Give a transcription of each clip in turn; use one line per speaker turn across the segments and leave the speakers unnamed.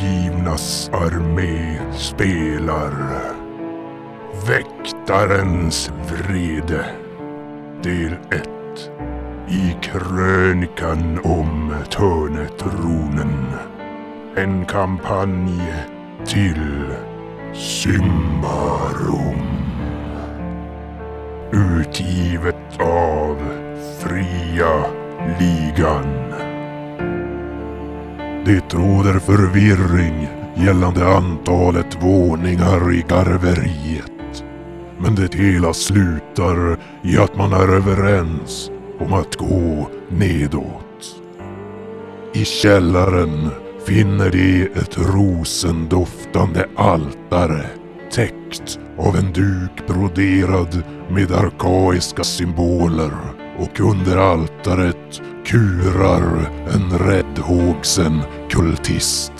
Lejonernas armé spelar Väktarens vrede Del 1 I krönikan om Törnetronen En kampanj till Symbarom Utgivet av Fria Ligan det råder förvirring gällande antalet våningar i garveriet. Men det hela slutar i att man är överens om att gå nedåt. I källaren finner de ett rosendoftande altare täckt av en duk broderad med arkaiska symboler och under altaret kurar en räddhågsen kultist.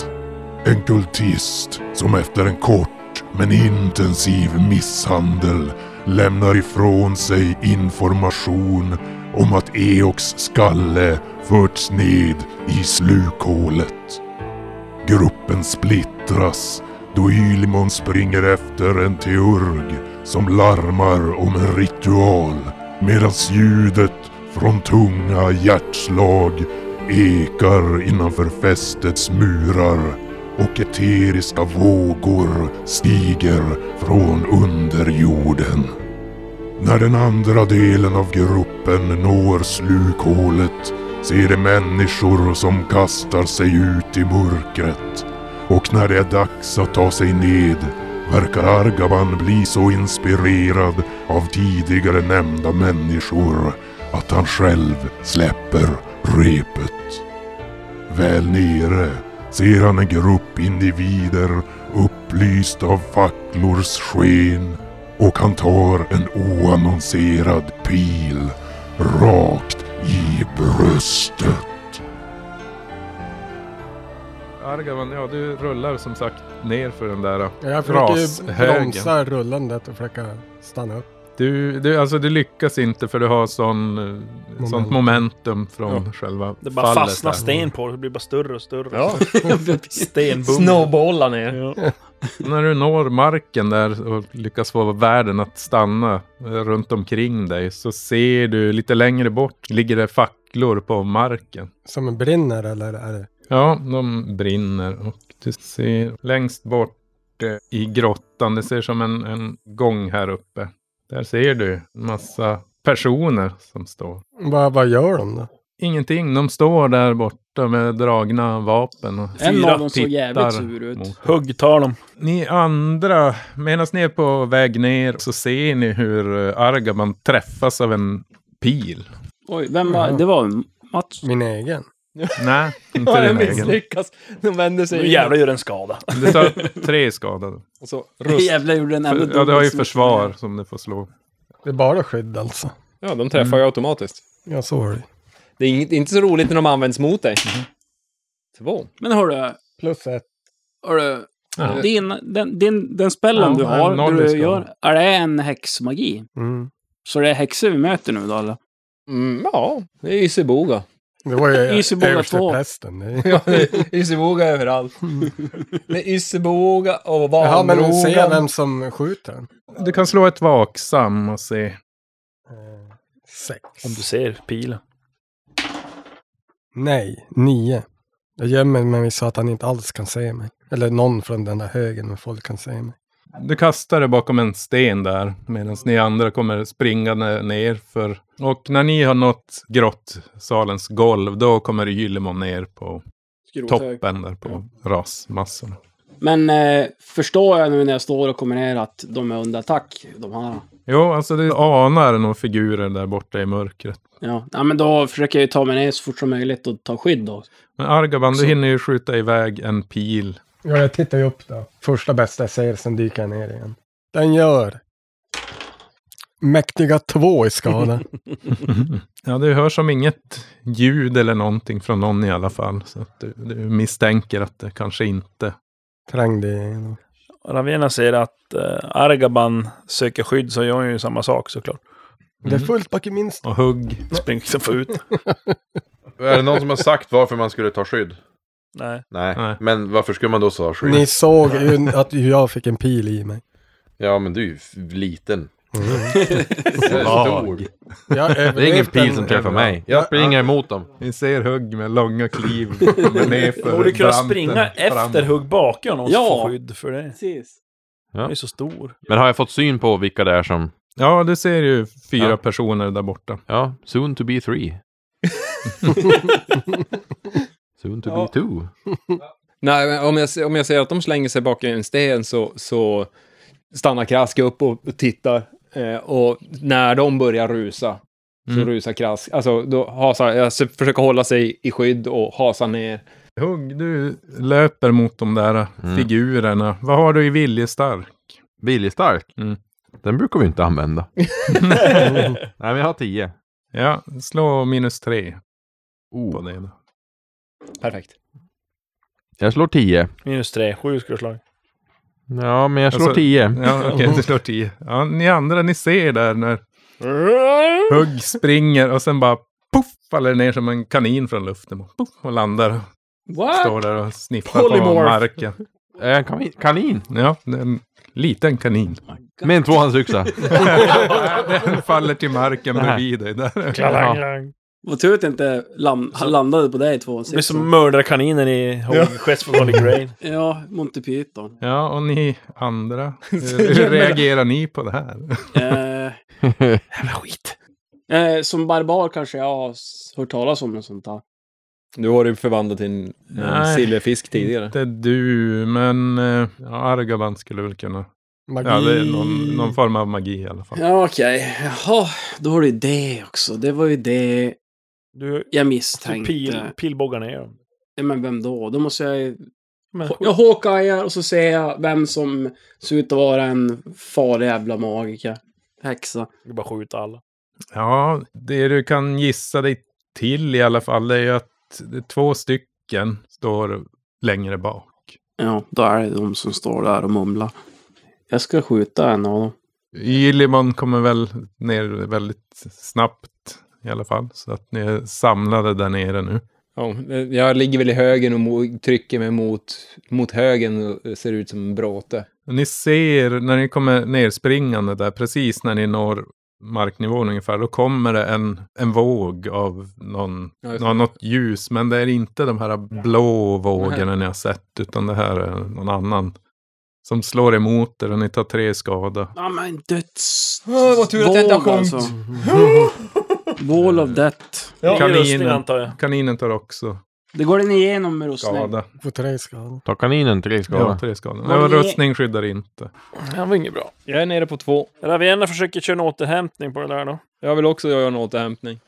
En kultist som efter en kort men intensiv misshandel lämnar ifrån sig information om att Eoks skalle förts ned i slukhålet. Gruppen splittras då Ylimon springer efter en teurg som larmar om en ritual medan ljudet från tunga hjärtslag ekar innanför fästets murar och eteriska vågor stiger från underjorden. När den andra delen av gruppen når slukhålet ser de människor som kastar sig ut i mörkret och när det är dags att ta sig ned verkar Argaban bli så inspirerad av tidigare nämnda människor att han själv släpper repet. Väl nere ser han en grupp individer upplyst av facklors sken och han tar en oannonserad pil rakt i bröstet.
Argavan, ja du rullar som sagt ner för den där. äh,
Ja, Jag försöker ju
Rashögen.
bromsa rullandet och försöka stanna upp.
Du, du, alltså, du lyckas inte för du har sån, eh, sånt momentum från själva
Det bara
fallet
fastnar
där.
sten på det, det blir bara större och större.
Ja.
Stenbummer.
Snowballar ner.
När du når marken där och lyckas få världen att stanna eh, runt omkring dig så ser du lite längre bort ligger det facklor på marken.
Som en brinner eller är det?
Ja, de brinner och du ser längst bort eh, i grottan, det ser som en, en gång här uppe. Där ser du en massa personer som står.
Vad, vad gör de då?
Ingenting, de står där borta med dragna vapen och
En
Fyra
av dem såg
tittar
jävligt sur ut.
mot
Hugg tar dem.
Ni andra, medan ni är på väg ner så ser ni hur eh, Argaban träffas av en pil.
Oj, vem var det? var Mats.
Min egen?
Nej,
Ja,
inte
den
din egen.
misslyckas. De vänder sig
Nu jävlar gör den skada.
Du tar tre skadade.
Och så rust.
Jävlar gjorde den ändå
Ja, du har ju
dubbelt så mycket.
försvar som du får slå.
Det är bara skydd alltså.
Ja, de träffar ju automatiskt.
Ja, sorry.
Det är inget- inte så roligt när de används mot dig. Två.
Men hörru,
Plus ett.
hörru.
Ja.
Din, den, din, den spellen
Ja,
du
en
har,
noll
du
i
gör, är det en häxmagi?
Mm.
Så det är häxor vi möter nu då eller?
Mm, ja, det är Ysiboga.
Det var ju
Isebola två.
översteprästen. det är ju-
Ja, det är Ysiboga överallt. Det är Ysiboga och
Jaha, men nu ser jag
Vanrogan.
vem som skjuter den.
Du kan slå ett vaksam och se.
Eh, Sex.
Om du ser pilen.
Nej, nio. Jag gömmer mig så att han inte alls kan se mig. Eller någon från den där högen med folk kan se mig.
Du kastar dig bakom en sten där medan ni andra kommer springande ner för... Och när ni har nått grottsalens golv då kommer Gyllemon ner på
Skrothög.
toppen där på rasmassorna.
Men eh, förstår jag nu när jag står och kommer ner att de är under attack, de här?
Jo, alltså du anar några figurer där borta i mörkret.
Ja. ja, men då försöker jag ju ta mig ner så fort som möjligt och ta skydd då.
Men Argaban, du hinner ju skjuta iväg en pil.
Ja, jag tittar ju upp då. Första bästa jag ser, sen dyker jag ner igen. Den gör mäktiga två i skada.
Ja, du hör som inget ljud eller någonting från någon i alla fall. Så att du, du misstänker att det kanske inte...
Trängde igenom.
Ravena ser att eh, Argaban söker skydd så gör hon ju samma sak såklart.
Det
Mm.
är fullt bak i minst.
Och hugg.
Springer liksom få ut.
Är det någon som har sagt varför man skulle ta skydd?
Nej.
Nej.
Nej.
Men varför skulle man då så ha skydd?
Ni såg ju att jag fick en pil i mig.
Ja, men du är ju f- liten. Så
Svag.
stor.
Jag
Mm. Det är ingen
överlevde
pil
den
som träffar
överallt.
mig. Jag springer emot dem.
Vi ser hugg med långa kliv. Kommer ner för
Borde kunna
branten
springa
fram.
efter hugg bakom och
Ja.
få skydd för det.
Precis.
Den är så stor.
Men har jag fått syn på vilka det är som...
Ja, du ser ju fyra
Ja.
personer där borta.
Ja, soon to be three. soon to
Ja.
be two.
Nej, men om jag, se- om jag ser att de slänger sig bakom en sten så, så stannar Krask upp och tittar. Eh, och när de börjar rusa, så
Mm.
rusar Krask. Alltså, då hasar, jag s- försöker hålla sig i skydd och hasar ner.
Hugg, du löper mot de där
Mm.
figurerna. Vad har du i viljestark?
Viljestark.
Mm.
Den brukar vi inte använda. Nej, men jag har tio.
Ja, slå minus tre på
Oh.
det då.
Perfekt.
Jag slår tio.
Minus tre, sju skulle jag slå.
Ja, men jag slår
Alltså-
tio.
Ja, okej, du slår tio. Ja, ni andra, ni ser där när Hugg springer och sen bara poff faller ner som en kanin från luften. och Poff, och landar.
What?
Står där och sniffar på
Polymorph.
marken.
Är jag en kanin? Eh, kanin?
Ja, det är en liten kanin.
Med en tvåhandsyxa.
Den faller till marken bredvid dig. Där.
Ja.
Klang.
Vad tur att det inte lam- landade på dig två.
Det blir som mördarkaninen i Hog Quest for Holy Grail.
Ja, Monty Python.
Ja, och ni andra, hur, hur reagerar ni på det här?
Eh,
Jävla skit.
eh, som barbar kanske jag har s- hört talas om något sånt här.
Du har ju förvandlat till en, en
Nej.
silverfisk tidigare.
Inte du, men eh, ja, Argaban skulle väl kunna...
Magi.
Ja, det är någon, någon form av magi i alla fall.
Ja, okej. Jaha, då har du det också. Det var ju det
Du
jag
du
misstänkte.
pil, pilbågar ner dem.
Ja, men vem då? Då måste jag ju...
Men
Jag håkajar och så ser jag vem som ser ut att vara en farlig jävla magiker. Häxa.
du bara skjuta alla.
Ja, det du kan gissa dig till i alla fall är ju att det är två stycken står längre bak.
Ja, då är det de som står där och mumlar. Jag ska skjuta en av dem.
Gillimon kommer väl ner väldigt snabbt i alla fall. Så att ni är samlade där nere nu.
Ja, jag ligger väl i högen och mo- trycker mig mot, mot högen och ser ut som en bråte.
Ni ser när ni kommer nerspringande där, precis när ni når marknivån ungefär, då kommer det en, en våg av någon,
Ja, just det.
nå- något ljus. Men det är inte de här blå vågorna ni har sett, utan det här är någon annan som slår emot er och ni tar tre skada.
Ja, men döds...
Åh, vad tur att det inte har
våg,
kommit.
Wall of death.
Ja,
Kaninen.
Kaninen. antar jag.
Kaninen tar också
Det går den igenom med rustning.
skada.
På tre skador.
Ta kaninen tre
Ja,
skador.
tre skada.
Vad
Men
är-
rustning skyddar inte.
Han var inget bra.
Jag är nere på två.
Ravenna försöker köra en återhämtning på det där då.
Jag vill också göra en återhämtning.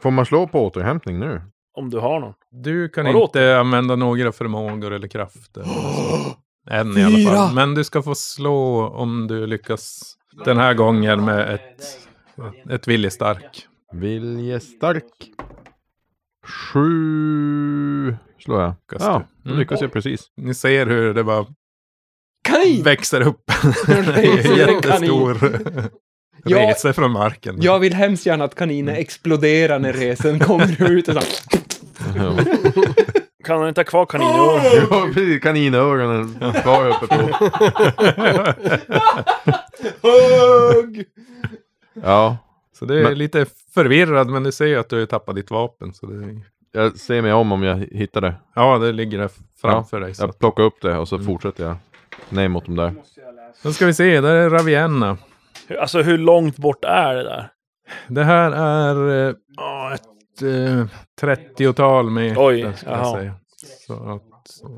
Får man slå på återhämtning nu?
Om du har någon.
Du kan
Vadå?
inte använda några förmågor eller krafter. eller så. Än i alla fall. Men du ska få slå om du lyckas den här gången med ett, ett viljestark.
Viljestark. Sju slår jag.
Lyckas
Ja,
du.
då lyckas Mm. jag precis.
Ni ser hur det bara
Kanin!
växer upp. Den är jättestor.
Ja.
Reser från marken.
Jag vill hemskt gärna att kaninen
Mm.
exploderar när resen kommer ut. Och så.
Kan han inte ha kvar kaninöron?
Ja, precis. Kaninöronen kvar uppe på.
Hugg!
Ja,
Så du är
Men-
lite förvirrad, men du ser ju att du har tappat ditt vapen. Så det,
jag ser mig om om jag hittar det.
ja, det ligger där framför dig. Så.
Jag plockar upp det och så fortsätter jag. Nej, mot dem där.
Då ska vi se, där är Ravienna.
Hur- Alltså hur långt bort är det där?
Det här är eh, ja, ett eh, 30-tal meter.
Oj,
skulle jag
jaha.
säga. Så att,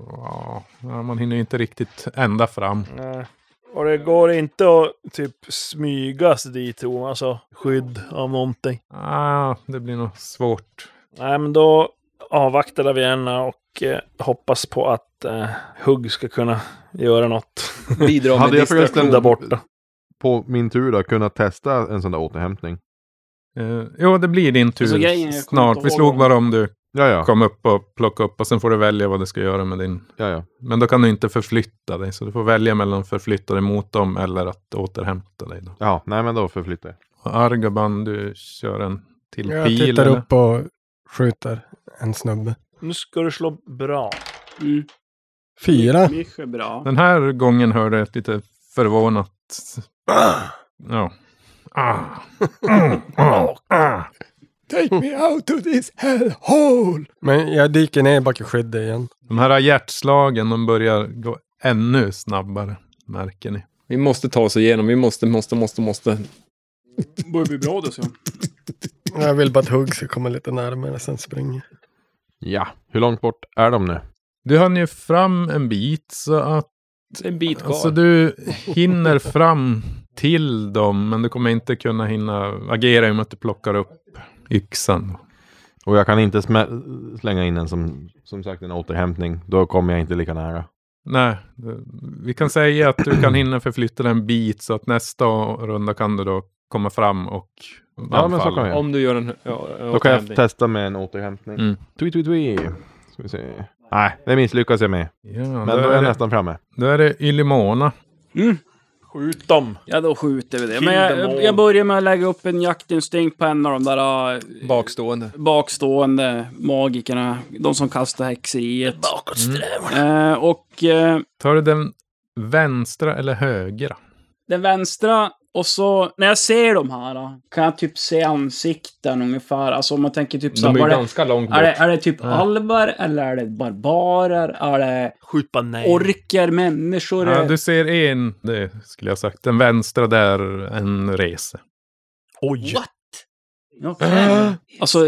ja, man hinner ju inte riktigt ända fram.
Nej. Och det går inte att typ smygas dit tror man. Alltså skydd av någonting.
Ah, det blir nog svårt.
Nej, men då avvaktar vi gärna och eh, hoppas på att eh, Hugg ska kunna göra något
Bidra med
Hade jag
distraktion.
förresten
där borta.
på min tur då kunnat testa en sån där återhämtning?
Eh, jo, det blir din tur
Alltså, grejen är, jag kommer
snart.
inte
Vi
ihåg
slog
om-
bara om du
Ja, ja.
kom upp och plockade upp och sen får du välja vad du ska göra med din.
ja, ja.
Men då kan du inte förflytta dig, så du får välja mellan att förflytta dig mot dem eller att återhämta dig. Då.
ja nej, men då förflyttar jag.
Och Argaban, du kör en till
Jag
pil.
tittar
eller?
upp och skjuter en snubbe.
Nu ska du slå bra.
Mm.
Fyra.
Misch är bra.
Den här gången hörde jag ett lite förvånat... Ja. Ah. Mm. Ah. Ah.
Take me out of this hellhole!
Men jag dyker ner bak i skyddet igen.
De här hjärtslagen, de börjar gå ännu snabbare, märker ni.
Vi måste ta oss igenom, vi måste, måste, måste, måste.
Börjar bli bra dessutom.
Jag vill bara att Hugg ska komma lite närmare, sen springer.
Ja, hur långt bort är de nu?
Du hann ju fram en bit så att
En bit kvar.
alltså, du hinner fram till dem men du kommer inte kunna hinna agera i och med att du plockar upp yxan.
Och jag kan inte smä- slänga in en som, som sagt en återhämtning. Då kommer jag inte lika nära.
Nej, du- vi kan säga att du kan hinna förflytta dig en bit så att nästa runda kan du då komma fram och
Ja, men så kan jag.
Om du gör en... Ja,
Då kan jag testa med en återhämtning.
Mm.
Tui, tui, tui. Ska vi se. Nej, det misslyckas jag med.
Ja,
Men
då,
då är
är
jag
det,
nästan framme.
då är det Ylimona.
Skjut dem!
Ja, då skjuter vi det.
Kill
Men
them all.
jag, jag börjar med att lägga upp en jaktinstinkt på en av de där äh,
Bakstående.
bakstående magikerna. De som kastar häxeriet.
Bakåtsträvare.
Eh, och eh,
Tar du den vänstra eller högra?
den vänstra, och så när jag ser de här då, kan jag typ se ansikten ungefär. Alltså om man tänker typ så här, var det,
ganska långt
är, det, är det typ
Ja.
alvar eller är det barbarer? Är det
Skjut bara nej.
orker, människor?
Ja, du ser en, det skulle jag sagt, den vänstra där, en rese.
Oj!
What?
Ah.
Okej. Alltså,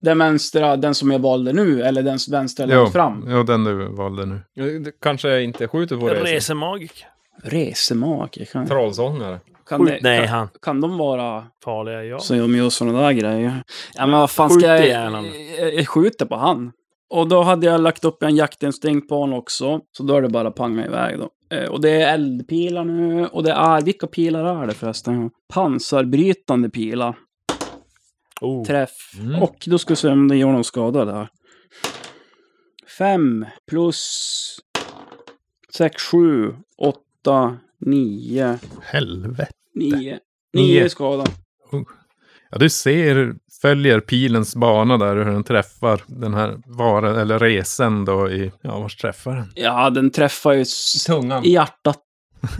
den vänstra, den som jag valde nu, eller den s- vänstra längst fram?
ja, den du valde nu.
Kanske inte skjuter på det.
Resemagiker.
Resemaker? Kan,
Trollsångare.
kan, det,
Skjut nej
kan,
han.
kan de vara
Farliga jag.
som de gör sådana där grejer? Ja, men vad fan
Skjut
ska jag...
i hjärnan.
jag- Jag skjuter på han. Och då hade jag lagt upp en jaktinstinkt på honom också, så då är det bara pang mig iväg då. Eh, Och det är eldpilar nu, och det är... Vilka pilar är det förresten? Pansarbrytande pilar.
Oh.
träff.
Mm.
Och då ska vi se om det gör någon skada där. Fem plus sex, sju, åtta, nio,
Helvete.
nio,
Nio.
nio skada.
Ja, du ser, följer pilens bana där och hur den träffar den här varan, eller resen då i, ja, vars träffar den?
Ja, den träffar ju s-
Tungan.
i hjärtat.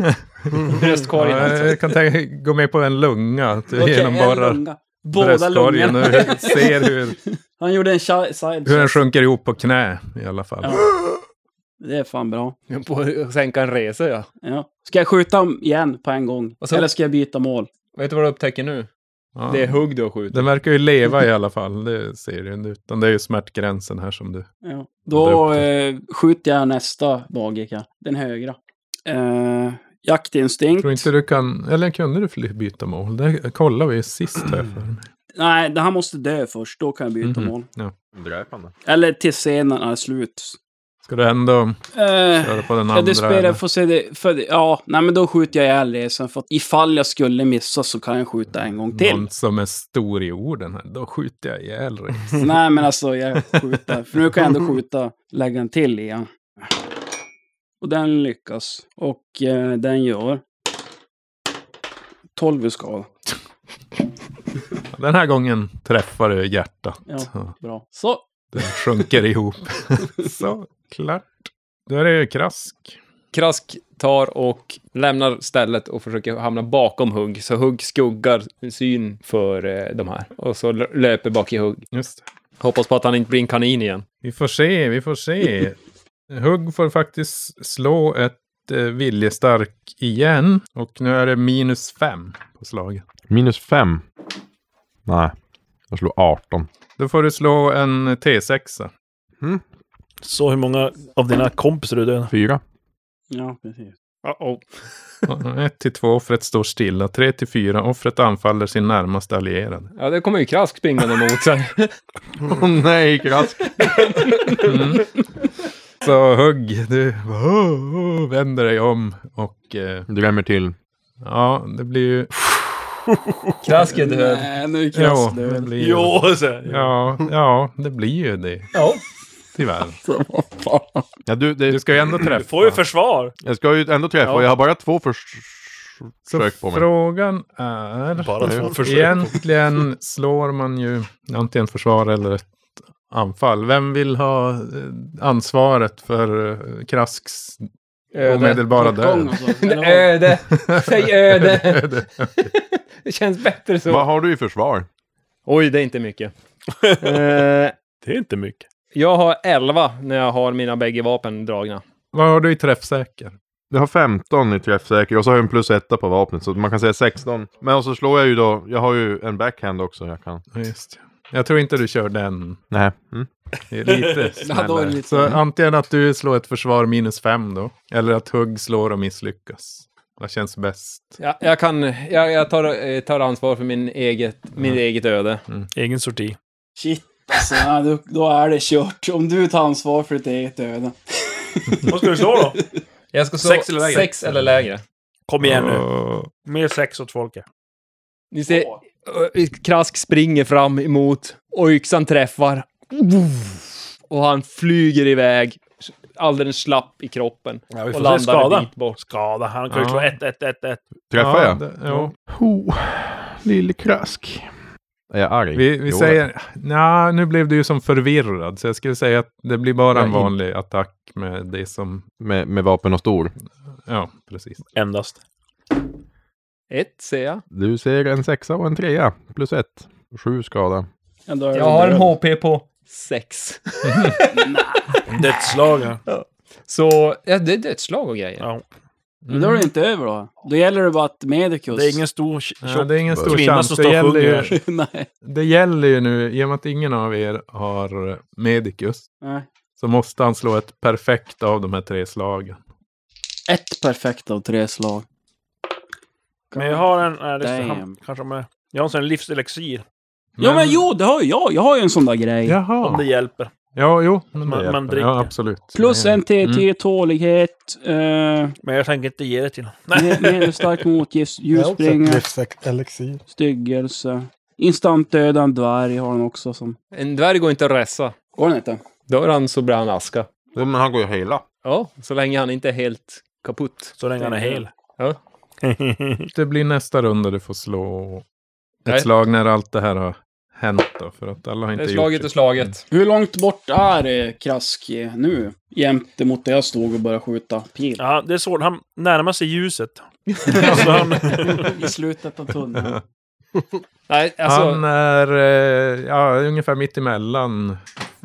Bröstkorgen
Mm. Ja,
alltså.
jag kan tänka, gå med på en lunga, att du
Okej, en
genomborrar
lunga. Båda
bröstkorgen och
lungorna.
hur- ser hur,
Han gjorde en chi- side
hur den
shot.
sjunker ihop på knä i alla fall.
Ja. Det är fan bra.
På att sänka en resa, ja.
Ja. Ska jag skjuta om igen på en gång?
Och så-
Eller ska jag byta mål?
Vet du vad du upptäcker nu?
Ja.
Det är hugg du har skjutit.
Den verkar ju leva i alla fall, det ser du. Utan det är ju smärtgränsen här som du...
Ja.
Ja,
Då
det
eh, skjuter jag nästa magiker, den högra. Eh, jaktinstinkt.
Tror inte du kan... Eller kunde du fly- byta mål? Det kollade vi sist här för mig.
Nej, det här måste dö först. Då kan jag byta
Mhm.
mål.
Dräpande.
Eller till scenen är slut.
Ska du ändå
Eh,
köra på den andra?
ja, det spelar,
eller?
får se det. För, ja, nej men då skjuter jag ihjäl resan. För att ifall jag skulle missa så kan jag skjuta en gång till.
Någon som är stor i orden här. Då skjuter jag ihjäl dig.
nej, men alltså jag skjuter. För nu kan jag ändå skjuta, lägga en till igen. Och den lyckas. Och eh, den gör... 12 i skada.
Den här gången träffar du hjärtat.
Ja. Bra. Så,
Den sjunker ihop. Så, klart. Då är det ju krask.
Krask tar och lämnar stället och försöker hamna bakom hugg. Så hugg skuggar syn för eh, de här. Och så l- löper bak i hugg.
Just det.
Hoppas på att han inte blir en kanin igen.
Vi får se, vi får se. Hugg får faktiskt slå ett eh, viljestark igen. Och nu är det minus fem på slaget.
Minus fem. Nej, jag slog 18.
Då får du slå en T6.
Så hur många av dina kompisar du dödar?
Fyra.
ja precis.
Uh-oh.
1 till 2, offret står stilla. 3 till 4, offret anfaller sin närmaste allierade.
Ja, det kommer ju Krask springande mot sig.
Åh nej, krask.
Mm. Så hugg, du oh, vänder dig om och eh,
Drämmer till.
ja, det blir ju...
Krask är död.
Nej, nu
Ja,
är Krask
det
död.
blir ju,
Jo, så.
ja, ja, det blir ju det.
Ja.
Tyvärr.
Ja, du,
Du
det,
ska ju ändå
Du får ju
träffa.
försvar.
jag ska ju ändå träffa
Ja.
och jag har bara två förs-
Så
försök på mig.
frågan är...
Bara
två
två försök.
Egentligen slår man ju antingen försvar eller ett anfall. Vem vill ha eh, ansvaret för eh, Krasks omedelbara
Bortgång
död?
och så, alltså. eller vad?
Öde! Säg öde!
Öde.
Det känns bättre så.
Vad har du i försvar?
Oj, det är inte mycket. Eh,
Det är inte mycket.
jag har 11 när jag har mina bägge vapen dragna.
Vad har du i träffsäker?
Jag har 15 i träffsäker och så har jag en plus etta på vapnet så man kan säga 16. Men och så slår jag ju då, jag har ju en backhand också jag kan.
Ja, Just. det. Jag tror inte du kör den.
Nej. Mm.
Det är Lite
Ja, då är
snällare.
det lite-
Så antingen att du slår ett försvar minus fem då. Eller att hugg slår och misslyckas. Vad känns bäst?
Jag, jag, kan, jag, jag tar, eh, tar ansvar för min eget, min eget öde.
Egen sorti.
Shit alltså, ja, då, då är det kört. Om du tar ansvar för ditt eget öde.
Vad ska du slå då?
Jag ska
slå Sex eller lägre? sex
eller lägre.
Kom igen nu.
Och-
Mer sex åt folket.
Ni ser, ö, Krask springer fram emot och yxan träffar. Och han flyger iväg, alldeles slapp i kroppen.
Ja, vi får
Och
se
landar en
skada.
bit bort.
Skada. Han kan ju
Ja.
slå 1, 1, 1, 1.
Träffar
ja,
jag?
det- Jo.
Ho, lille krask. Är jag arg?
Vi, vi
Jo,
säger... Nja, nu blev du ju som förvirrad. Så jag skulle säga att det blir bara en
Ja, in-
vanlig attack med det som...
Med, med vapen och stor.
Ja, precis.
Endast.
Ett, ser jag.
Du ser en sexa och en trea. Plus ett. Sju skada.
Ja, då är det
Jag har en
död.
HP på Mhm. sex.
Det är ett slag. ja.
Så, ja, det, det är ett slag och grejer.
Ja.
Men då är det inte över då. Då gäller det bara att Medicus...
Det är ingen stor tj-
Ja,
tjock.
det är ingen stor
Kvinna
chans.
som
Det
står och
gäller,
sjunger.
ju,
Nej.
det gäller ju nu, i och med att ingen av er har eh, Medicus,
Nej.
så måste han slå ett perfekt av de här tre slagen.
Ett perfekt av tre slag.
Men jag har en... Nej, det är
Damn.
han, kanske med. Jag har en sån här livselixir.
Ja men jo, det har ju jag. Jag har ju en sån där grej.
Om det
Jaha.
hjälper.
Ja, jo. men det
Man-
hjälper.
man dricker.
Ja, absolut.
Plus
Det är-
en T10 tålighet. Uh,
Men jag tänker inte ge det till honom.
Medelstark motgift.
Jag har också ett
Ljusbringare.
livselixir.
Styggelse. Instant döda en dvärg har han också som...
En dvärg går inte att ressa.
Går den inte?
Dör han så blir han aska.
Ja, men han går ju hela.
Ja, så länge han inte är helt kaputt.
Så länge han är hel.
Ja.
Det blir nästa runda du får slå ett
Nej.
slag när allt det här har hänt då. För att alla har
Det
inte
är slaget
gjort
och slaget.
Hur långt bort är eh, Krask eh, nu? Jämte mot där jag stod och började skjuta pil.
ja, det är svårt. Han närmar sig ljuset. Så han,
I slutet av tunneln.
Nej, alltså,
Han är eh, ja, ungefär mitt emellan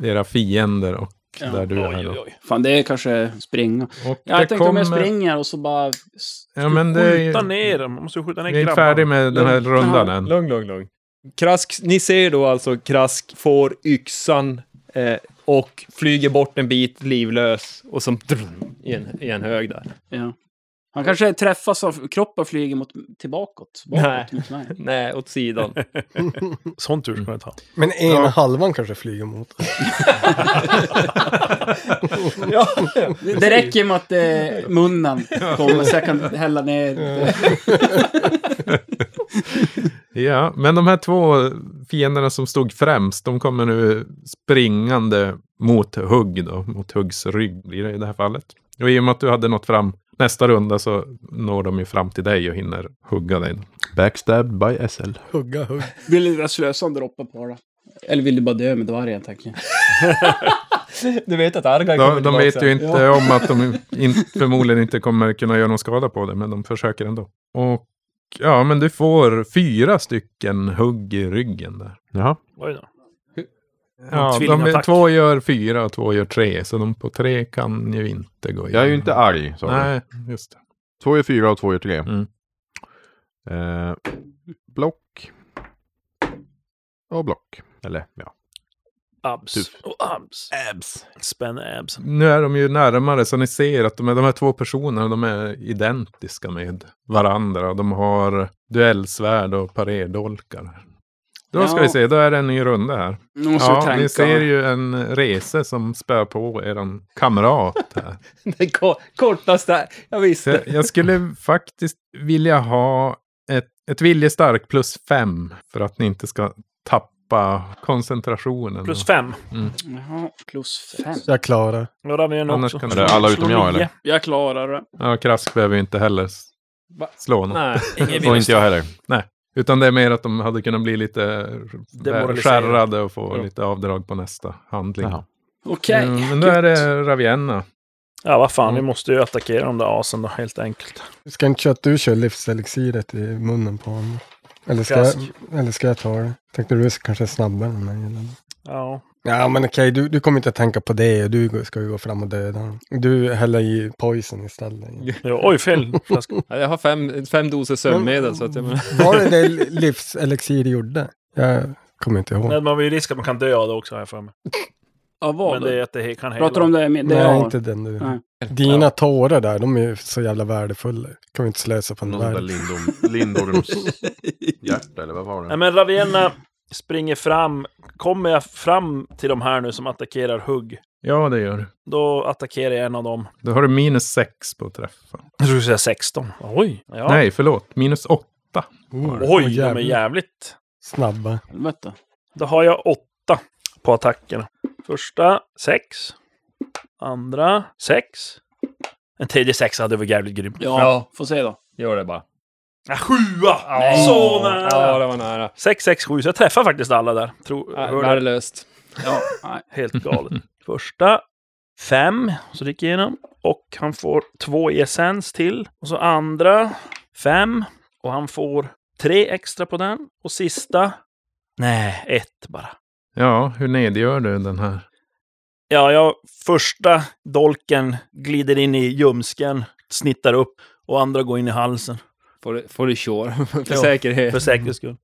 era fiender och
Ja.
där du är. då.
Fan, det är kanske springa.
Och
Ja, jag
det
tänkte om jag
kommer-
springer och så bara... s-
Ja, men det
skjuta
är,
ner dem. Man måste skjuta ner
vi är inte
grabbarna.
färdiga med den här rundan än.
lugn, lugn, lugn. Krask, ni ser då alltså Krask får yxan eh, och flyger bort en bit livlös och som drrm, i, en, i en hög där.
Ja. Han kanske träffas av... Kroppen flyger mot, tillbakåt. Bakåt
Nej.
mot mig.
Nej, åt sidan.
Sån tur ska jag ta.
Men ena halvan kanske flyger mot.
ja,
Det, det räcker med att eh, munnen kommer så jag kan hälla ner.
Ja, men de här två fienderna som stod främst, de kommer nu springande mot Hugg då, mot Huggs rygg blir det i det här fallet. Och i och med att du hade nått fram nästa runda så når de ju fram till dig och hinner hugga dig. då.
Backstabbed by SL.
Hugga hugg.
Vill du slösa en droppe på det? Eller vill du bara dö med dvärgen, tänker jag.
du vet att Arga kommer
De, de
tillbaka
vet
sen.
ju inte om att de in, förmodligen inte kommer kunna göra någon skada på det, men de försöker ändå. Och ja, men du får fyra stycken hugg i ryggen där.
Jaha.
Oj då.
Ja, de,
tvillingattack.
två gör fyra och två gör tre, så de på tre kan ju inte gå
Jag är ju
igenom.
inte arg. sa du.
Nej, just det.
Två är fyra och två är tre.
Mm.
Eh, block. Och block. Eller ja.
Abs.
Tuff.
Och abs. Abs. Spänn absen.
Nu är de ju närmare så ni ser att de, är, de här två personerna de är identiska med varandra. De har duellsvärd och parerdolkar. Då ska
Ja.
vi se, då är det en ny runda här.
Nu måste jag
Ja,
tänka.
ni ser ju en rese som spär på er kamrat här.
Den ko- kortaste... Jag
Så
visste.
jag- jag skulle faktiskt vilja ha ett, ett viljestark plus fem för att ni inte ska tappa koncentrationen.
Plus fem.
Jaha, plus fem.
Jag klarar.
Då har vi en
Annars
också.
kan
Är det alla utom jag eller?
Jag klarar det.
Ja, Krask behöver ju inte heller s-
Va?
slå något.
Nej.
Och inte jag heller.
Utan det är mer att de hade kunnat bli lite
Demoraliserade.
skärrade och få
Ja.
lite avdrag på nästa handling.
Jaha.
Okej.
Mm, men då är det Ravienna.
Ja, vad fan, vi måste ju attackera de där asen då, helt enkelt.
Du ska inte köra att du kör livselixiret i munnen på honom. Eller ska, jag,
Kask.
eller ska jag ta det? Tänkte du kanske är snabbare än mig? Eller?
Ja.
Ja, men okej, du, du kommer inte att tänka på det. Du går- ska ju gå fram och döda honom. Du häller i poison istället.
Jo, oj, fel flaska.
Ja, Jag har fem, fem doser sömnmedel, så att jag menar...
Var det det livselixir gjorde? Jag kommer inte ihåg.
Nej, man vill ju risk att man kan dö av det också, har jag för mig.
Ja,
Men
vad?
det är att det he- kan hela.
Pratar du om det? med- det
Nej,
jag har?
inte den du.
Nej.
Dina tårar där, de är ju så jävla värdefulla. Kan vi inte slösa på en
Någon sån där
värld.
lindom, lindorms hjärta eller vad var
Nej,
det?
men Ravenna springer fram. Kommer jag fram till de här nu som attackerar hugg,
Ja, det gör du.
då attackerar jag en av dem.
Då har du minus sex på träffen.
Jag skulle säga 16. Oj! Ja.
Nej, förlåt. Minus åtta.
Oj,
Åh,
de är
Oh, jävlar.
jävligt.
Snabba.
Helvete.
Då har jag åtta på attackerna. Första, sex. Andra, sex. En tredje sexa hade varit jävligt grym.
Ja,
Ja.
får se då.
Gör det bara.
Ja, sjua!
Nej.
Så nära!
Ja, det var nära.
Sex, sex, sju. Så jag träffar faktiskt alla där. Tro,
Ja,
hör det.
Värdelöst.
Ja, nej.
Helt galet. Första, fem. Så det gick igenom. Och han får två i essens till. Och så andra, fem. Och han får tre extra på den. Och sista, nej, ett bara.
Ja, hur nedgör du den här?
Ja, jag, första dolken glider in i ljumsken, snittar upp och andra går in i halsen
Får du, får du sure. För
Ja.
säkerhet.
för säkerhets skull.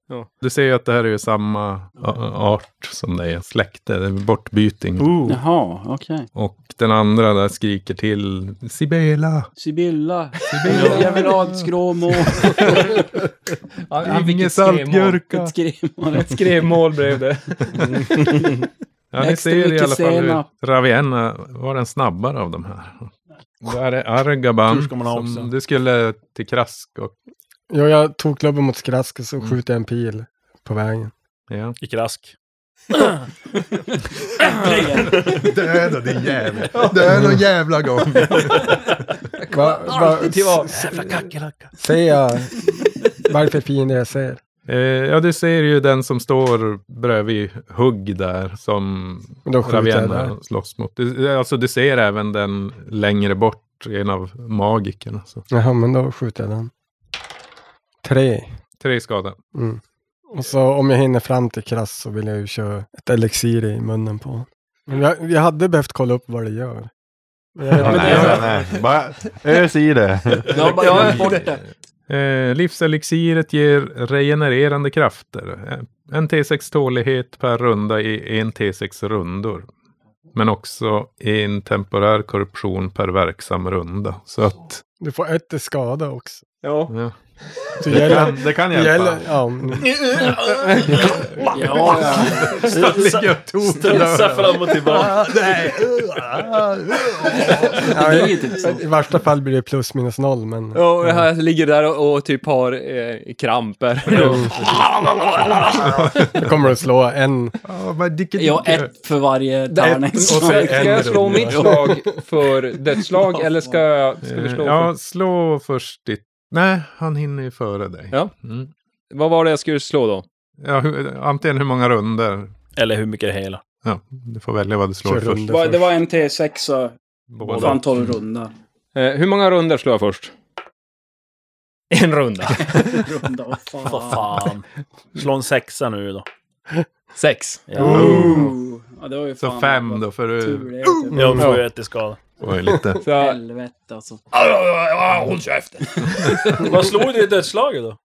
Du ser ju att det här är ju samma a- a- art som det är släkte. Det är bortbyting.
Jaha, okej.
Och den andra där skriker till Sibela.
Sibylla. Jag vill ha ett skråmål.
Han fick
Inge
ett skremål.
saltgurka.
Ett skremål.
Ett skremål blev det.
Ja, ni
Extra
ser i
mycket
alla fall hur
senap.
Ravenna var den snabbare av de här. Där är
Tur
Argaban.
ska man ha också.
Som du skulle till Krask och...
Ja, jag tog klubben mot skrask och så
Mm.
skjuter jag en pil på vägen.
Ja.
Gick rask.
Döda din jävel! Döda någon jävla gång!
Va, va,
alltid till vad?
s- ser jag varför fiende jag ser?
Eh, ja, du ser ju den som står bredvid Hugg där som
Men då skjuter jag där.
Ravenna slåss mot. Du, alltså, du ser även den längre bort, en av magikerna. Så.
Jaha, men då skjuter jag den. Tre.
Tre skada.
Mm. Och så om jag hinner fram till Krass så vill jag ju köra ett elixir i munnen på honom. Men jag, jag hade behövt kolla upp vad det gör.
Ja, nej, nej. Bara ös i det.
Jag bara jag är borta.
Eh, livselixiret ger regenererande krafter. Eh, En T6 tålighet per runda i en T6 rundor. Men också en temporär korruption per verksam runda. Så att...
Du får ett i skada också.
Ja.
Ja.
Du
Det
gäller...
kan, det kan
Det gäller
hjälpa.
ja, mm. men-
Ja, ja.
Studsa fram och tillbaka.
ja,
Det är ju typ så.
i, I värsta fall blir det plus minus noll, men...
Ja, och jag ligger där och, och typ har eh, kramper.
Då kommer du slå en...
Jag har ett för varje tärning.
Ska jag slå mitt slag för dödsslag eller ska, jag- ska vi
Eh,
slå
ja,
för,
slå först ditt... Nej, han hinner ju före dig.
Ja.
Mm.
Vad var det jag skulle slå då?
Ja, hur, antingen hur många runder.
Eller hur mycket det hela.
Ja, du får välja vad du slår
Kör
först.
runder
Det
först.
var en T6 och
Båda.
fan 12 runda.
Eh, hur många runder slår jag först? En runda.
Runda,
Vad
vad fan.
fan. Slå en sexa nu då.
Sex. Mm.
Ja.
Oh. Ja, det var ju
Så
fan
fem då, för
Tur
du
det. vet du.
Mm. Ja, då får jag ett i skada.
var ju lite...
Så jag,
Helvete alltså.
håll käften.
Vad slog du i dödslaget då?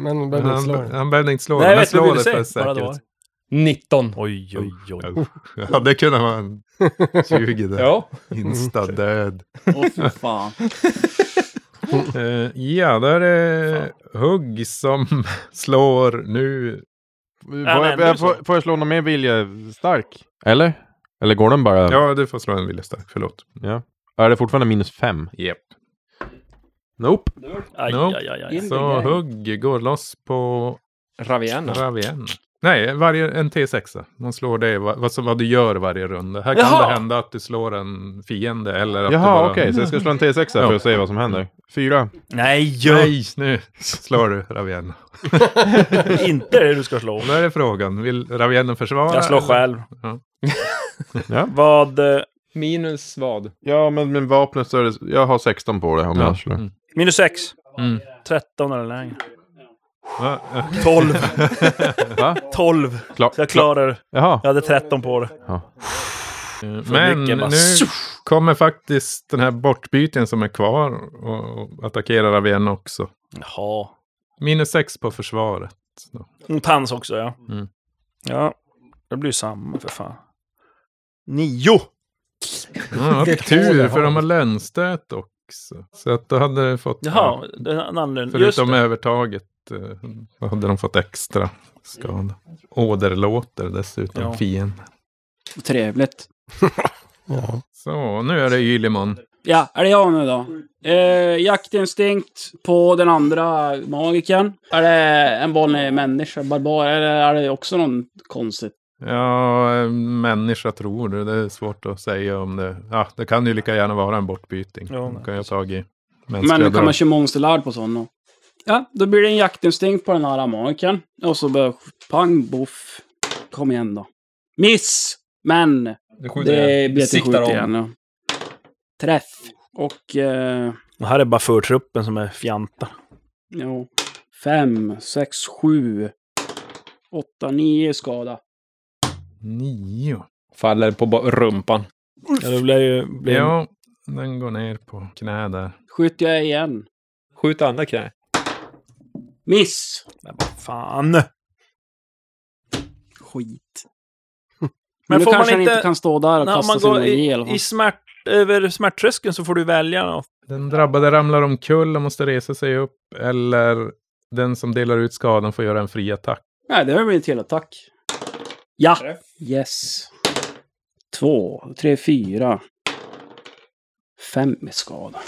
Men du behöver inte
Han,
slå den.
han behövde inte slå
Nej,
den, men
jag vet vad
slå
jag
det för
ville säga. Bara det
säkerhet.
var.
19.
Oj, oj, oj.
Ja, det kunde vara 20 där.
Ja.
Insta-död.
Åh fy fan.
Eh, ja, där är Hugg som slår nu.
Får
men
jag,
det är
jag, får, får jag slå någon mer vilja stark? Eller? Eller går den bara...
Ja, du får slå en vilja stark, förlåt.
Är det fortfarande minus fem?
Yep.
Nope.
Aj,
Nope.
aj, aj, aj.
Så Hugg går loss på
Ravienna.
Ravien. Nej, varje, en T6. Man slår det, vad, vad, som- vad du gör varje runda. Här kan
Jaha!
det hända att du slår en fiende eller att
Jaha,
du Mm.
okej. Så jag ska slå en T6 här för att se vad som händer. Fyra.
Nej, ju.
Nej, nu slår du Ravienna.
inte det du ska slå.
Då är det frågan, vill Ravienna försvara?
Jag slår
eller?
själv.
Ja.
Vad... eh,
Minus vad?
Ja, men med vapnet så är det... Jag har 16 på det om
Ja.
jag slår.
Mm.
Minus 6.
Mm.
13 eller längre.
Va? Eh,
12.
Va?
12.
Klar.
Så jag klarar det.
Jaha.
Jag hade 13 på det.
Men
mycket bara
nu kommer faktiskt den här bortbyten som är kvar och och attackerar Ravienna också.
Jaha.
Minus 6 på försvaret. då.
Mot hans också, ja.
Mm.
Ja, det blir ju samma för fan. Nio!
Ja, det är tur, för de har lönnstöt också. Så att då hade det fått...
Jaha, det är en anledning. Just
Förutom
det.
övertaget eh, då hade de fått extra skada. Åderlåter dessutom
Ja.
fienden.
Trevligt.
Ja.
Så, nu är det Ylimon.
Ja, är det jag nu då?
Mm.
Eh, jaktinstinkt på den andra magikern. Är det en vanlig människa, barbar, eller är det också någon konstigt?
Ja, eh, människa tror du. Det är svårt att säga om det. Ja, det kan ju lika gärna vara en bortbyting.
Ja,
De
nej.
kan jag ta tag i.
Men
mänskliga
nu kan man
drag.
köra monsterlärd på sådana. Ja, då blir det en jaktinstinkt på den här magikern. Och så bara pang, boff. Kom igen då. Miss! Men
Du skjuter
det
igen.
blir till
Siktar
skjut
om.
igen. Ja. Träff. Och... Eh,
Det här är bara förtruppen som är fjantar.
Jo. Fem, sex, sju, åtta, nio skada.
Nio.
Faller på ba- rumpan.
Ja, det blir ju... Blir...
Ja, den går ner på knä där.
Skjuter jag igen.
Skjut andra knä.
Miss!
Men vad fan!
Skit. Men,
Men
nu
får
kanske
man
han inte
inte-
kan stå där och
Nej, om
kasta
man
sin
går
magi i
i,
alla fall.
i smärt, över smärttröskeln så får du välja. något.
Den drabbade ramlar omkull och måste resa sig upp. Eller den som delar ut skadan får göra en fri attack.
Nej, det har blivit till attack. Ja! Yes. Två, tre, fyra. Fem i skada.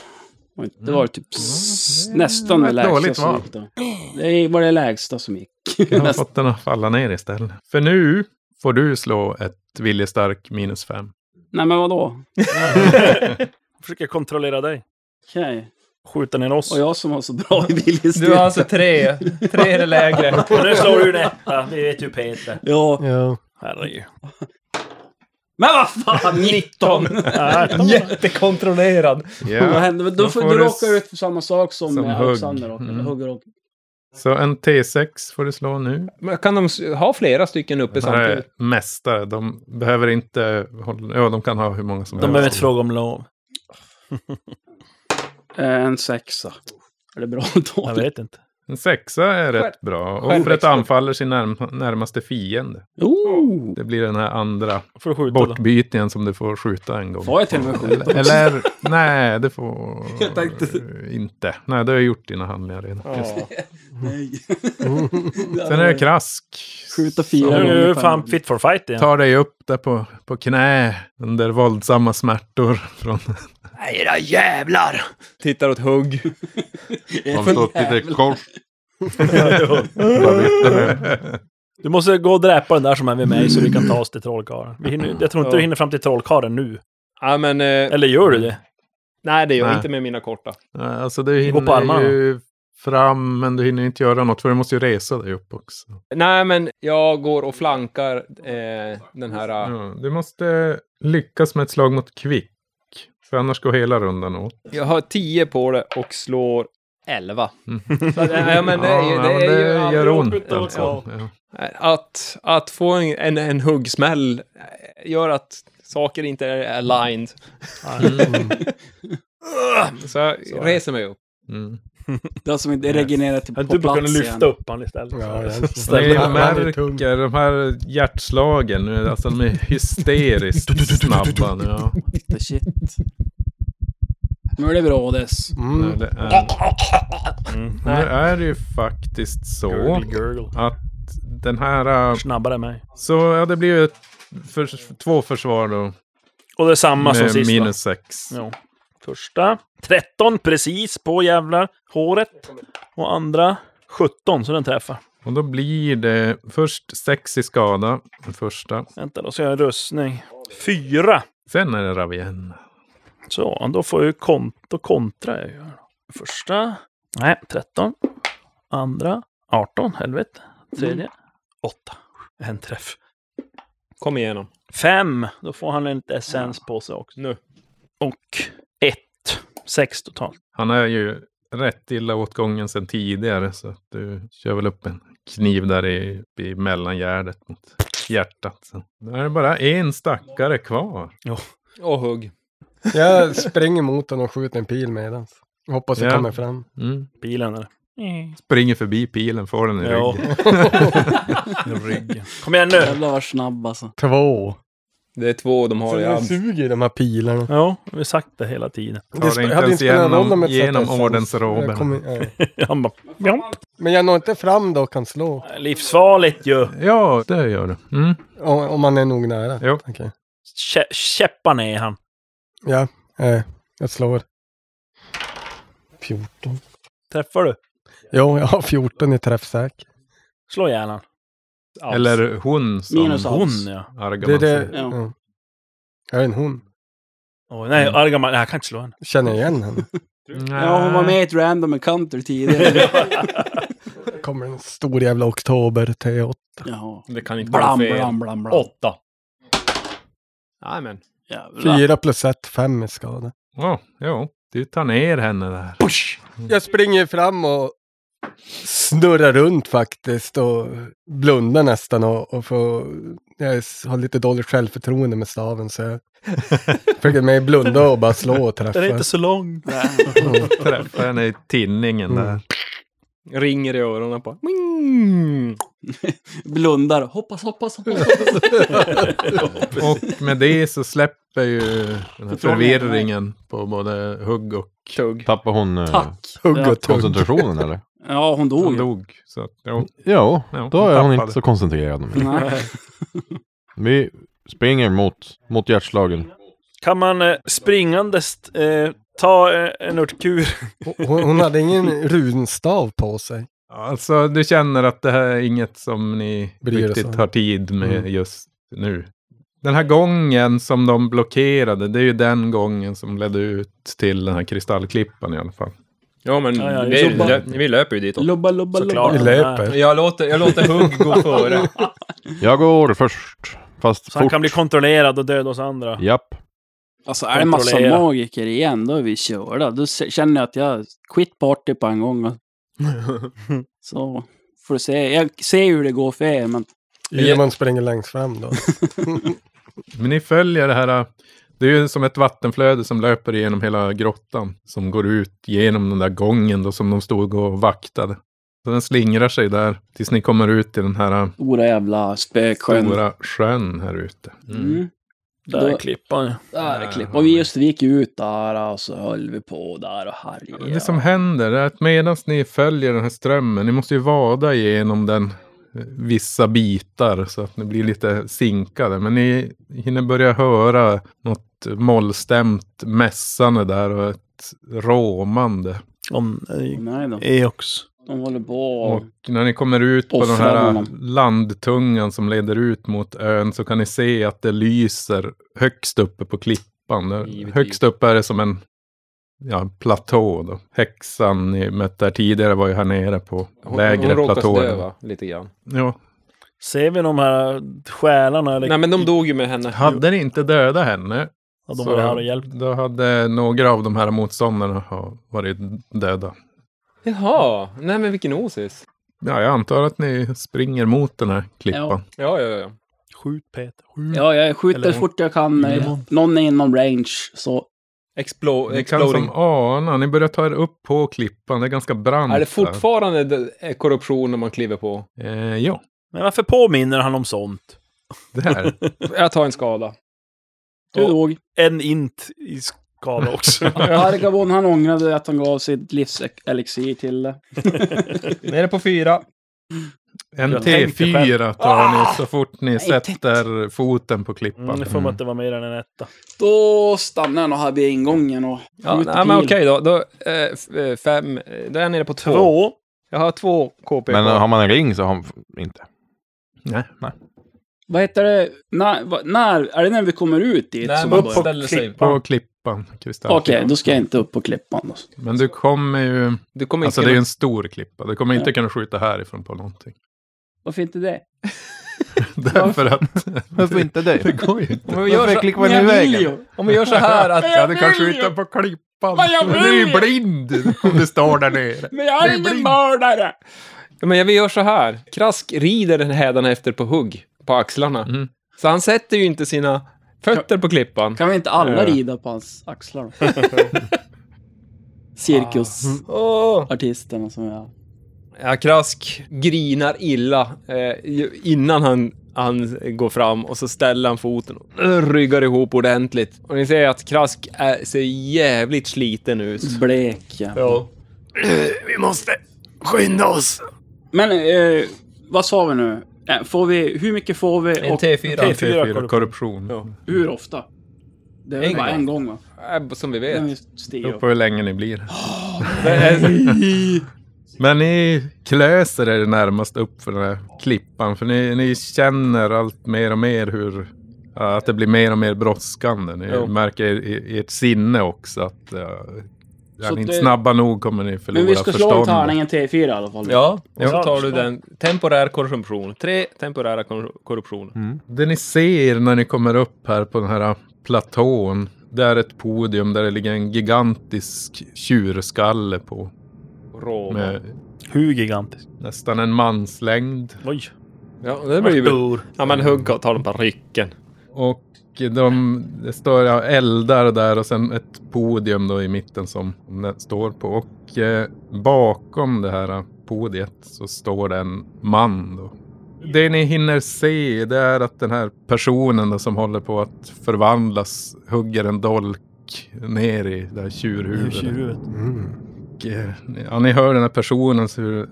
Och Det var typ s-
Mm.
nästan det
Ett
lägsta
dåligt
som
val.
gick då. Det var det lägsta som gick.
Jag har
Nästan.
fått den att falla ner istället. För nu får du slå ett viljestark minus fem.
Nej, men vadå?
Försöker kontrollera dig.
Okej.
Skjuta ner oss.
Och jag som har så bra i viljestil.
Du har alltså tre. Tre är det lägre.
Och nu slår du en etta. Vi vet ju Peter.
Ja.
ja.
Herregud.
Men vad fan, 19!
Jättekontrollerad.
Vad
Ja.
hände? Då
Då
får
får
du
du
råkar
s-
ut för samma sak som,
som
eh,
hugg.
Alexander råkade, eller
Mm.
hugger och...
Så en T6 får du slå nu.
Men Kan de s- ha flera stycken uppe
Det här är
samtidigt?
mästare. De behöver inte hålla... Ja, de kan ha hur många som
De behöver inte fråga om lov.
Eh, En sexa. Är det bra
Jag
då?
vet inte.
En sexa är rätt bra. Offret
Självexpert.
anfaller sin närm- närmaste fiende.
Oh!
Det blir den här andra
Får du skjuta då?
bortbytningen som du får skjuta en gång.
Får jag till och med skjuta?
Eller, eller nej, det får
Jag tänkte-
inte. Nej, det har jag gjort dina handlingar redan. Just. det.
Nej.
Sen är det krask.
Skjuta fyra
Nu
gånger
är du
per
fan
runda.
fit for fight igen.
Tar dig upp där på, på knä under våldsamma smärtor från
Era jävlar! Tittar åt hugg.
De står lite kors.
Du måste gå och dräpa den där som är med mig så vi kan ta oss till trollkarlen. Vi hinner, jag tror inte
Ja.
du hinner fram till trollkarlen nu.
Ja, men... Eh,
Eller gör du det?
nej, det gör jag
Nej.
inte med mina korta.
Ja, Alltså du
går på
hinner
armarna.
ju fram, men du hinner inte göra något för du måste ju resa dig upp också.
Nej, men jag går och flankar eh, den här... eh,
Ja, du måste lyckas med ett slag mot kvick. För annars går hela rundan åt.
Jag har 10 på det och slår 11.
Mm.
Så att, eh, ja, men det, är ju-
ja,
det,
men
är ju
det
aldrig
gör ont
roligt att-
alltså.
ja.
Ja.
Att, att få en, en, en huggsmäll eh, gör att saker inte är aligned. Så jag reser mig upp.
Mm.
Den som inte regenererar till
Men
på
du bara kunde
plats
typ lyfta
igen.
upp han istället.
Ja,
Så-
egentligen.
så-
Ni
Ja, det är tungt.
märker de här hjärtslagen, nu, alltså de är hysteriskt snabba nu. Ja.
The shit. Nu är det bra dess.
Nu,
Mm.
det är,
Mm.
nu är det ju faktiskt så
Gurgle, gurgle.
att den här... äh,
Snabbare än mig.
Så ja, det blir ju ett, för, två försvar då.
Och det är samma som
Med
sist va?
minus sex.
Ja. Första. 13 precis på jävlar håret. Och andra 17 så den träffar.
Och då blir det först sex i skada, den första.
Vänta, då ska jag ha en rustning. Fyra!
Sen är det Ravienna.
Så, då får jag ju kont- då kontrar jag ju. här då. Första, nej, 13. Andra, 18, helvete. Tredje, 8. En träff.
Kom igenom.
Fem, då får han en liten essens på sig också.
Nu.
Och ett, sex totalt.
Han är ju rätt illa åt gången sedan tidigare, så att du kör väl upp en kniv där i, i mellangärdet mot hjärtat. Så. Där är det bara en stackare kvar.
Och hugg.
Jag springer mot den och skjuter en pil medans. Hoppas jag
Ja.
kommer fram.
Mm.
Bilen eller?
Springer förbi pilen, får den i
Ja.
ryggen.
Ryggen. Kom igen nu!
Jävlar vad snabb alltså.
Två.
Det är två de har i
de
arm.
suger de här pilarna.
Ja, vi har sagt det hela tiden.
Tar
sp-
inte
hade
ens
spelat någon roll om
genom, genom
jag satt där. Jag
ordensroben.
kommer- nej.
Han bara, "Mjomp."
Men jag når inte fram då och kan slå.
Livsfarligt ju!
Ja, det gör du. Mm.
Om, om man är nog nära.
Jo.
Okej.
Kä- Käppar ner han.
Ja, eh, jag slår. 14.
Träffar du?
Jo, jag har 14 i träffsäker.
Slå ihjäl han.
Alls.
Eller hon som
Minus allt.
Hon
Alls.
ja.
Argaman
Det är
säger.
det.
Ja.
Ja. Jag är en hon.
Oj, nej, Argaman, nej, jag kan inte slå henne.
Känner jag igen henne?
Ja, hon var med i ett random encounter tidigare.
Kommer en stor jävla oktober T8.
Jaha.
Det kan inte vara
Blam,
fel.
blam, blam, blam.
Åtta. Jajamän.
Jävlar.
4 plus 1, 5 i skada.
Ja, jo. Du tar ner henne där.
Jag springer fram och snurrar runt faktiskt och blundar nästan och, och får, jag s- har lite dåligt självförtroende med staven så jag försöker mig blunda och bara slå och träffa.
Den är inte så lång.
Mm.
Träffar henne i tinningen där.
Mm.
Ringer i öronen på. Mm.
Blundar. Hoppas, hoppas, hoppas.
Och med det så släpper ju den här
Så tar vi
förvirringen på både hugg och
Tugg.
Tappar hon eh,
Tack.
Hugg och tugg.
koncentrationen eller?
Oh, Ja, hon
hon
dog.
dog. Så att, jo.
Ja,
Ja,
då är hon
tappade.
inte så koncentrerad.
Nej.
Vi springer mot, mot hjärtslagen.
Kan man eh, springandes eh, ta eh, en örtkur?
Hon, hon hade ingen runstav på sig.
Alltså, du känner att det här är inget som ni
Bryr er
riktigt
om.
har tid med
Mm.
just nu. Den här gången som de blockerade, det är ju den gången som ledde ut till den här kristallklippan i alla fall.
Ja, men
Ja, ja,
vi,
jobba.
lö, vi löper ju ditåt.
Lubba, lubba,
Såklart.
Vi
lubba.
löper.
Jag låter, jag låter hugg gå före.
Jag går först, fast
Så han
fort.
kan bli kontrollerad och döda oss andra.
Japp.
Alltså är det en massa
Kontrollera.
magiker igen, då är vi körda. Då se- känner jag att jag quit party på en gång. Så får du se. Jag ser ju hur det går för er, men
Gilman springer längst fram då.
Men ni följer det här. äh, Det är ju som ett vattenflöde som löper genom hela grottan. Som går ut genom den där gången då som de stod och vaktade. Så den slingrar sig där tills ni kommer ut till den här äh,
stora jävla spöksjön.
stora sjön här ute.
Mm.
Där
Då-
klippan ju.
Där är klipp. Och vi just vi gick ut där och så höll vi på där och
Det
härjade.
som händer är att medan ni följer den här strömmen, ni måste ju vada igenom den eh, vissa bitar så att ni blir lite sinkade. Men ni hinner börja höra något mollstämt mässande där och ett råmande.
Om eh,
Nej då.
Eox.
De håller på och...
Och när ni kommer ut på den
Offra
här
honom.
landtungan som leder ut mot ön så kan ni se att det lyser högst uppe på klippan. Där-
Givetvis.
Högst upp är det som en ja, platå. Då. Häxan ni mötte här tidigare var ju här nere på
Hon,
lägre
hon råkas
platåer.
döva lite grann.
Ja.
Ser vi de här själarna? Eller?
Nej, men de dog ju med henne.
Hade ni inte dödat henne
ja, de
så
var här och hjälpte.
då hade några av de här motståndarna ha varit döda.
Jaha, nej men vilken osis.
Ja, jag antar att ni springer mot den här klippan.
Ja, ja, ja.
Skjut Peter, skjut.
Ja, jag skjuter
Eller-
fort jag kan. eh, Någon är inom range, så...
Explo-
Ni kan
exploding.
som ana, ni börjar ta er upp på klippan, det är ganska brant.
Är det
där.
fortfarande d- eh, korruption när man kliver på?
Eh, ja,
Men varför påminner han om sånt?
det här.
Jag tar en skada.
Du
Ja.
dog.
En int i skala också. Mm,
Argabon, han ångrade att han gav sitt livselixir till det.
Nere på fyra.
En
Jag tänkte själv.
T4 tar ni så fort ni
tätt.
sätter foten på klippan.
Mm, det får man inte vara mer än en etta.
Då stannar han och här vid ingången och
Ja,
skjuter
nej, men
pil.
okej då. Då, eh, f- eh, fem, eh, då är jag nere på två.
Två.
Jag har två KP
Men
kvar.
eh,
har man en ring så har man inte.
Vad heter det? När, va- när, är det när vi kommer ut dit?
Nej,
som
men
man
upp
börjar?
på ställer sig.
På klippan, Kristall.
Okej, då ska jag inte upp på klippan. Då.
Men du kommer ju...
Du kommer
Alltså
inte
det är ju
kunna...
en stor klippa. Du kommer inte kunna skjuta härifrån på någonting.
Varför inte det?
Därför att...
Varför inte
Det
det?
går ju inte.
Om vi gör så,
klickar i vägen?
om vi gör så här att...
Ja, du kan skjuta på klippan.
Vad jag
Men Du är ju
vill!
blind om du står där nere.
Men jag är ingen mördare!
Ja, men jag vill göra så här. Krask rider den hädan efter på hugg på axlarna.
Mm.
Så han sätter ju inte sina fötter på klippan.
Kan vi inte alla rida på hans axlar då? Cirkusartisterna
Åh!
som jag...
Ja, Krask grinar illa eh, ju- innan han, han går fram och så ställer han foten och eh, ryggar ihop ordentligt. Och ni ser att Krask är, ser jävligt sliten ut.
Blek ja.
Ja.
Vi måste skynda oss.
Men eh, vad sa vi nu? Eh, Får vi, hur mycket får vi
En
och
T4.
T4 korruption.
hur ofta? Det är väl
En
bara
gång.
en gång va?
Eh, Som vi
Den
vet.
vi stiger
Beror
upp.
på hur länge ni blir.
Eh,
Men ni klöser er närmast upp för den här klippan. För ni, ni känner allt mer och mer hur... ja, Att det blir mer och mer brådskande. Ni
Jo.
märker i, i ert sinne också att... Uh, är
Så
ni inte
det-
snabba nog kommer ni förlora
Men vi ska slå en
förståndet.
tärning, en T4 i alla fall.
Ja, och så
Ja,
tar du
så.
den. Temporär korruption. Tre temporära kor- korruptioner.
Det ni ser när ni kommer upp här på den här platån. Det är ett podium där det ligger en gigantisk tjurskalle på.
Rå.
Med
Hur gigantisk?
nästan en manslängd.
Oj.
Ja, det blir ju...
Stor.
Ja, men hugg och ta den på rycken.
Och de, det står ja, eldar där och sen ett podium då i mitten som den står på. Och eh, bakom det här podiet så står det en man då. Det ni hinner se det är att den här personen då, som håller på att förvandlas hugger en dolk ner i det här tjurhuvudet.
Mm.
Och, eh, ja, ni hör den här personen så hur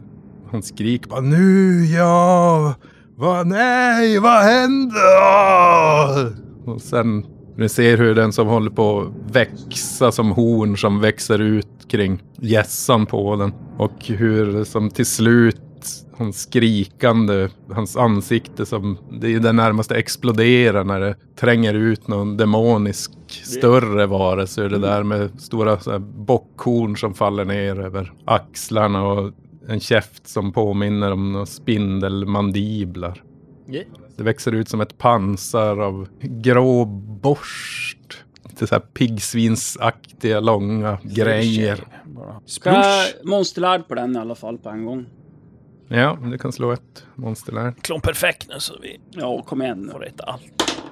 han skriker bara nu ja, vad nej, vad händer? Och sen ni ser hur den som håller på att växa som horn som växer ut kring gässan på den och hur som till slut han skrikande, hans ansikte som det i det närmaste exploderar när det tränger ut någon demonisk större varelse ur det där med stora så här, bockhorn som faller ner över axlarna och en käft som påminner om några spindelmandiblar.
Yeah.
Det växer ut som ett pansar av grå borst. Lite så här piggsvinsaktiga långa grejer.
Ska monsterlärd på den i alla fall på en gång.
Ja, du kan slå ett monster där.
Klon perfekt nu så vi
Ja, kom igen nu.
får rätta allt.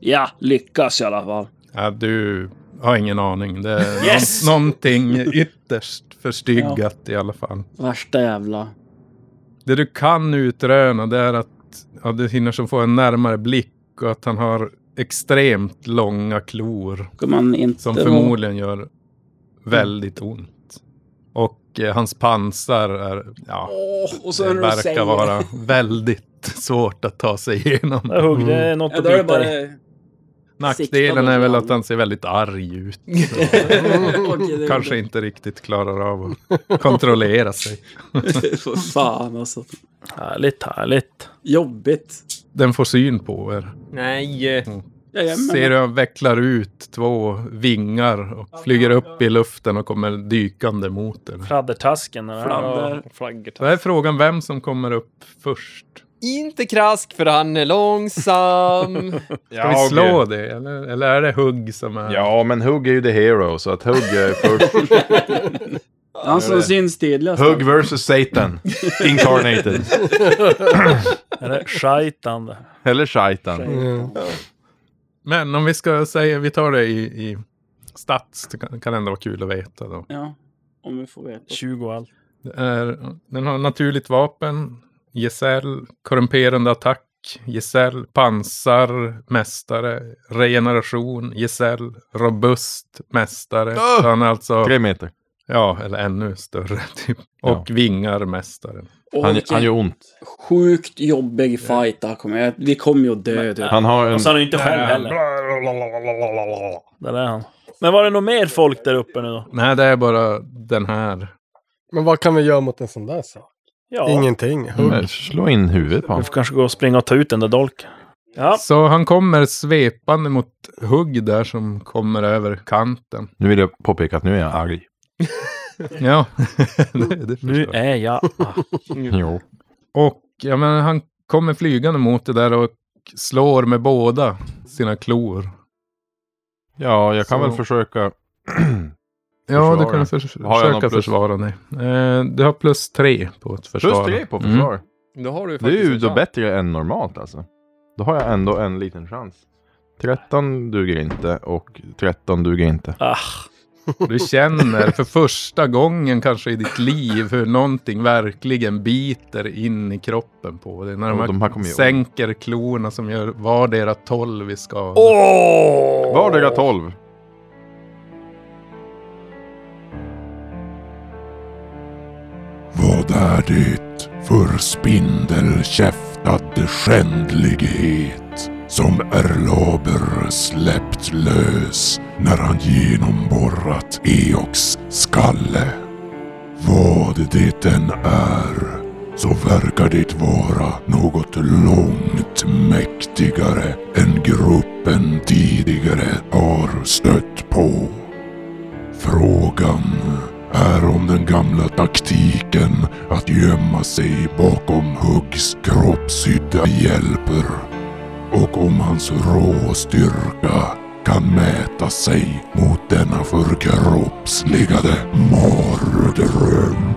Ja, lyckas i alla fall.
Ja, du har ingen aning. Det är
Yes!
nå- någonting ytterst förstyggat i alla fall.
Värsta jävla...
Det du kan utröna det är att ja, du hinner som få en närmare blick och att han har extremt långa klor
Ska man inte...
som
vara-
förmodligen gör väldigt ont. Och eh, hans pansar är, ja,
Åh, och så
det
när du
verkar
säger
vara väldigt svårt att ta sig igenom.
Jag hugg, det är något
Ja,
att
då är det
bita
bara...
i.
Nackdelen
sikta
är
mot
väl
honom.
att han ser väldigt arg ut.
Okej, det-
Kanske inte riktigt klarar av att kontrollera sig.
För fan alltså.
Härligt, härligt.
Jobbigt.
Den får syn på er.
Nej.
Jajamän.
Ser hur han vecklar ut två vingar och flyger upp i luften och kommer dykande mot er.
Fladdertasken. den här.
Fladder.
Då är frågan vem som kommer upp först.
Inte krask för han är långsam.
Ska vi slå det? Eller, eller är det hugg som är...
Ja, men Hugg är ju the hero, så att Hugg är först.
Han som syns tydligast.
Hugg versus Satan. Incarnated.
Är det shaitan det?
Eller Shaitan.
Men om vi ska säga, vi tar det i, i stats, det kan, kan ändå vara kul att veta då.
Ja, om vi får veta.
20 allt.
Det är, den har naturligt vapen, gesell, korrumperande attack, gesell, pansar, mästare, regeneration, gesell, robust, mästare.
Ah!
Så han är alltså,
Tre meter.
ja, eller ännu större typ. Och vingar, mästaren.
Åh,
Han,
vilken
han gör ont.
Sjukt jobbig fight det här kommer. jag- Vi kommer ju att dö du.
Han har en...
Och så är han ju inte själv heller. Där är han. Men var det nog mer folk där uppe nu då?
Nej, det är bara den här
Men vad kan vi göra mot en sån där sak?
Ja,
Ingenting. Hugg.
Men Eh, Slå in huvudet på
vi
honom.
får kanske gå och springa och ta ut den där dolken. Ja,
Så han kommer svepande mot hugg där som kommer över kanten.
Nu vill jag påpeka att nu är jag arg.
Ja, det, det
nu
förstår jag.
är jag...
Jo.
Och ja, men han kommer flygande mot det där och slår med båda sina klor.
Ja, jag kan
Så-
väl försöka.
Ja,
Försvara.
du kan förs-
Har jag någon
försöka
plus?
försvara dig. Eh, du har plus tre på ett försvar.
Plus tre på
Mm.
försvar.
Då har du ju
Det är
faktiskt
ju
en
då
chans.
bättre än normalt alltså. Då har jag ändå en liten chans. 13 duger inte och 13 duger inte.
Ah,
Du känner för första gången kanske i ditt liv hur någonting verkligen biter in i kroppen på dig. När de
Och
här,
de här kommer ju-
sänker klorna som gör vardera tolv i skada.
Vardera 12.
Vad är det för spindelkäftad skändlighet som Erlaber släppt lös när han genomborrat Eoks skalle? Vad det än är så verkar det vara något långt mäktigare än gruppen tidigare har stött på. Frågan är om den gamla taktiken att gömma sig bakom Huggs kroppshydda hjälper och om hans råstyrka kan mäta sig mot denna förkroppsligade mardröm.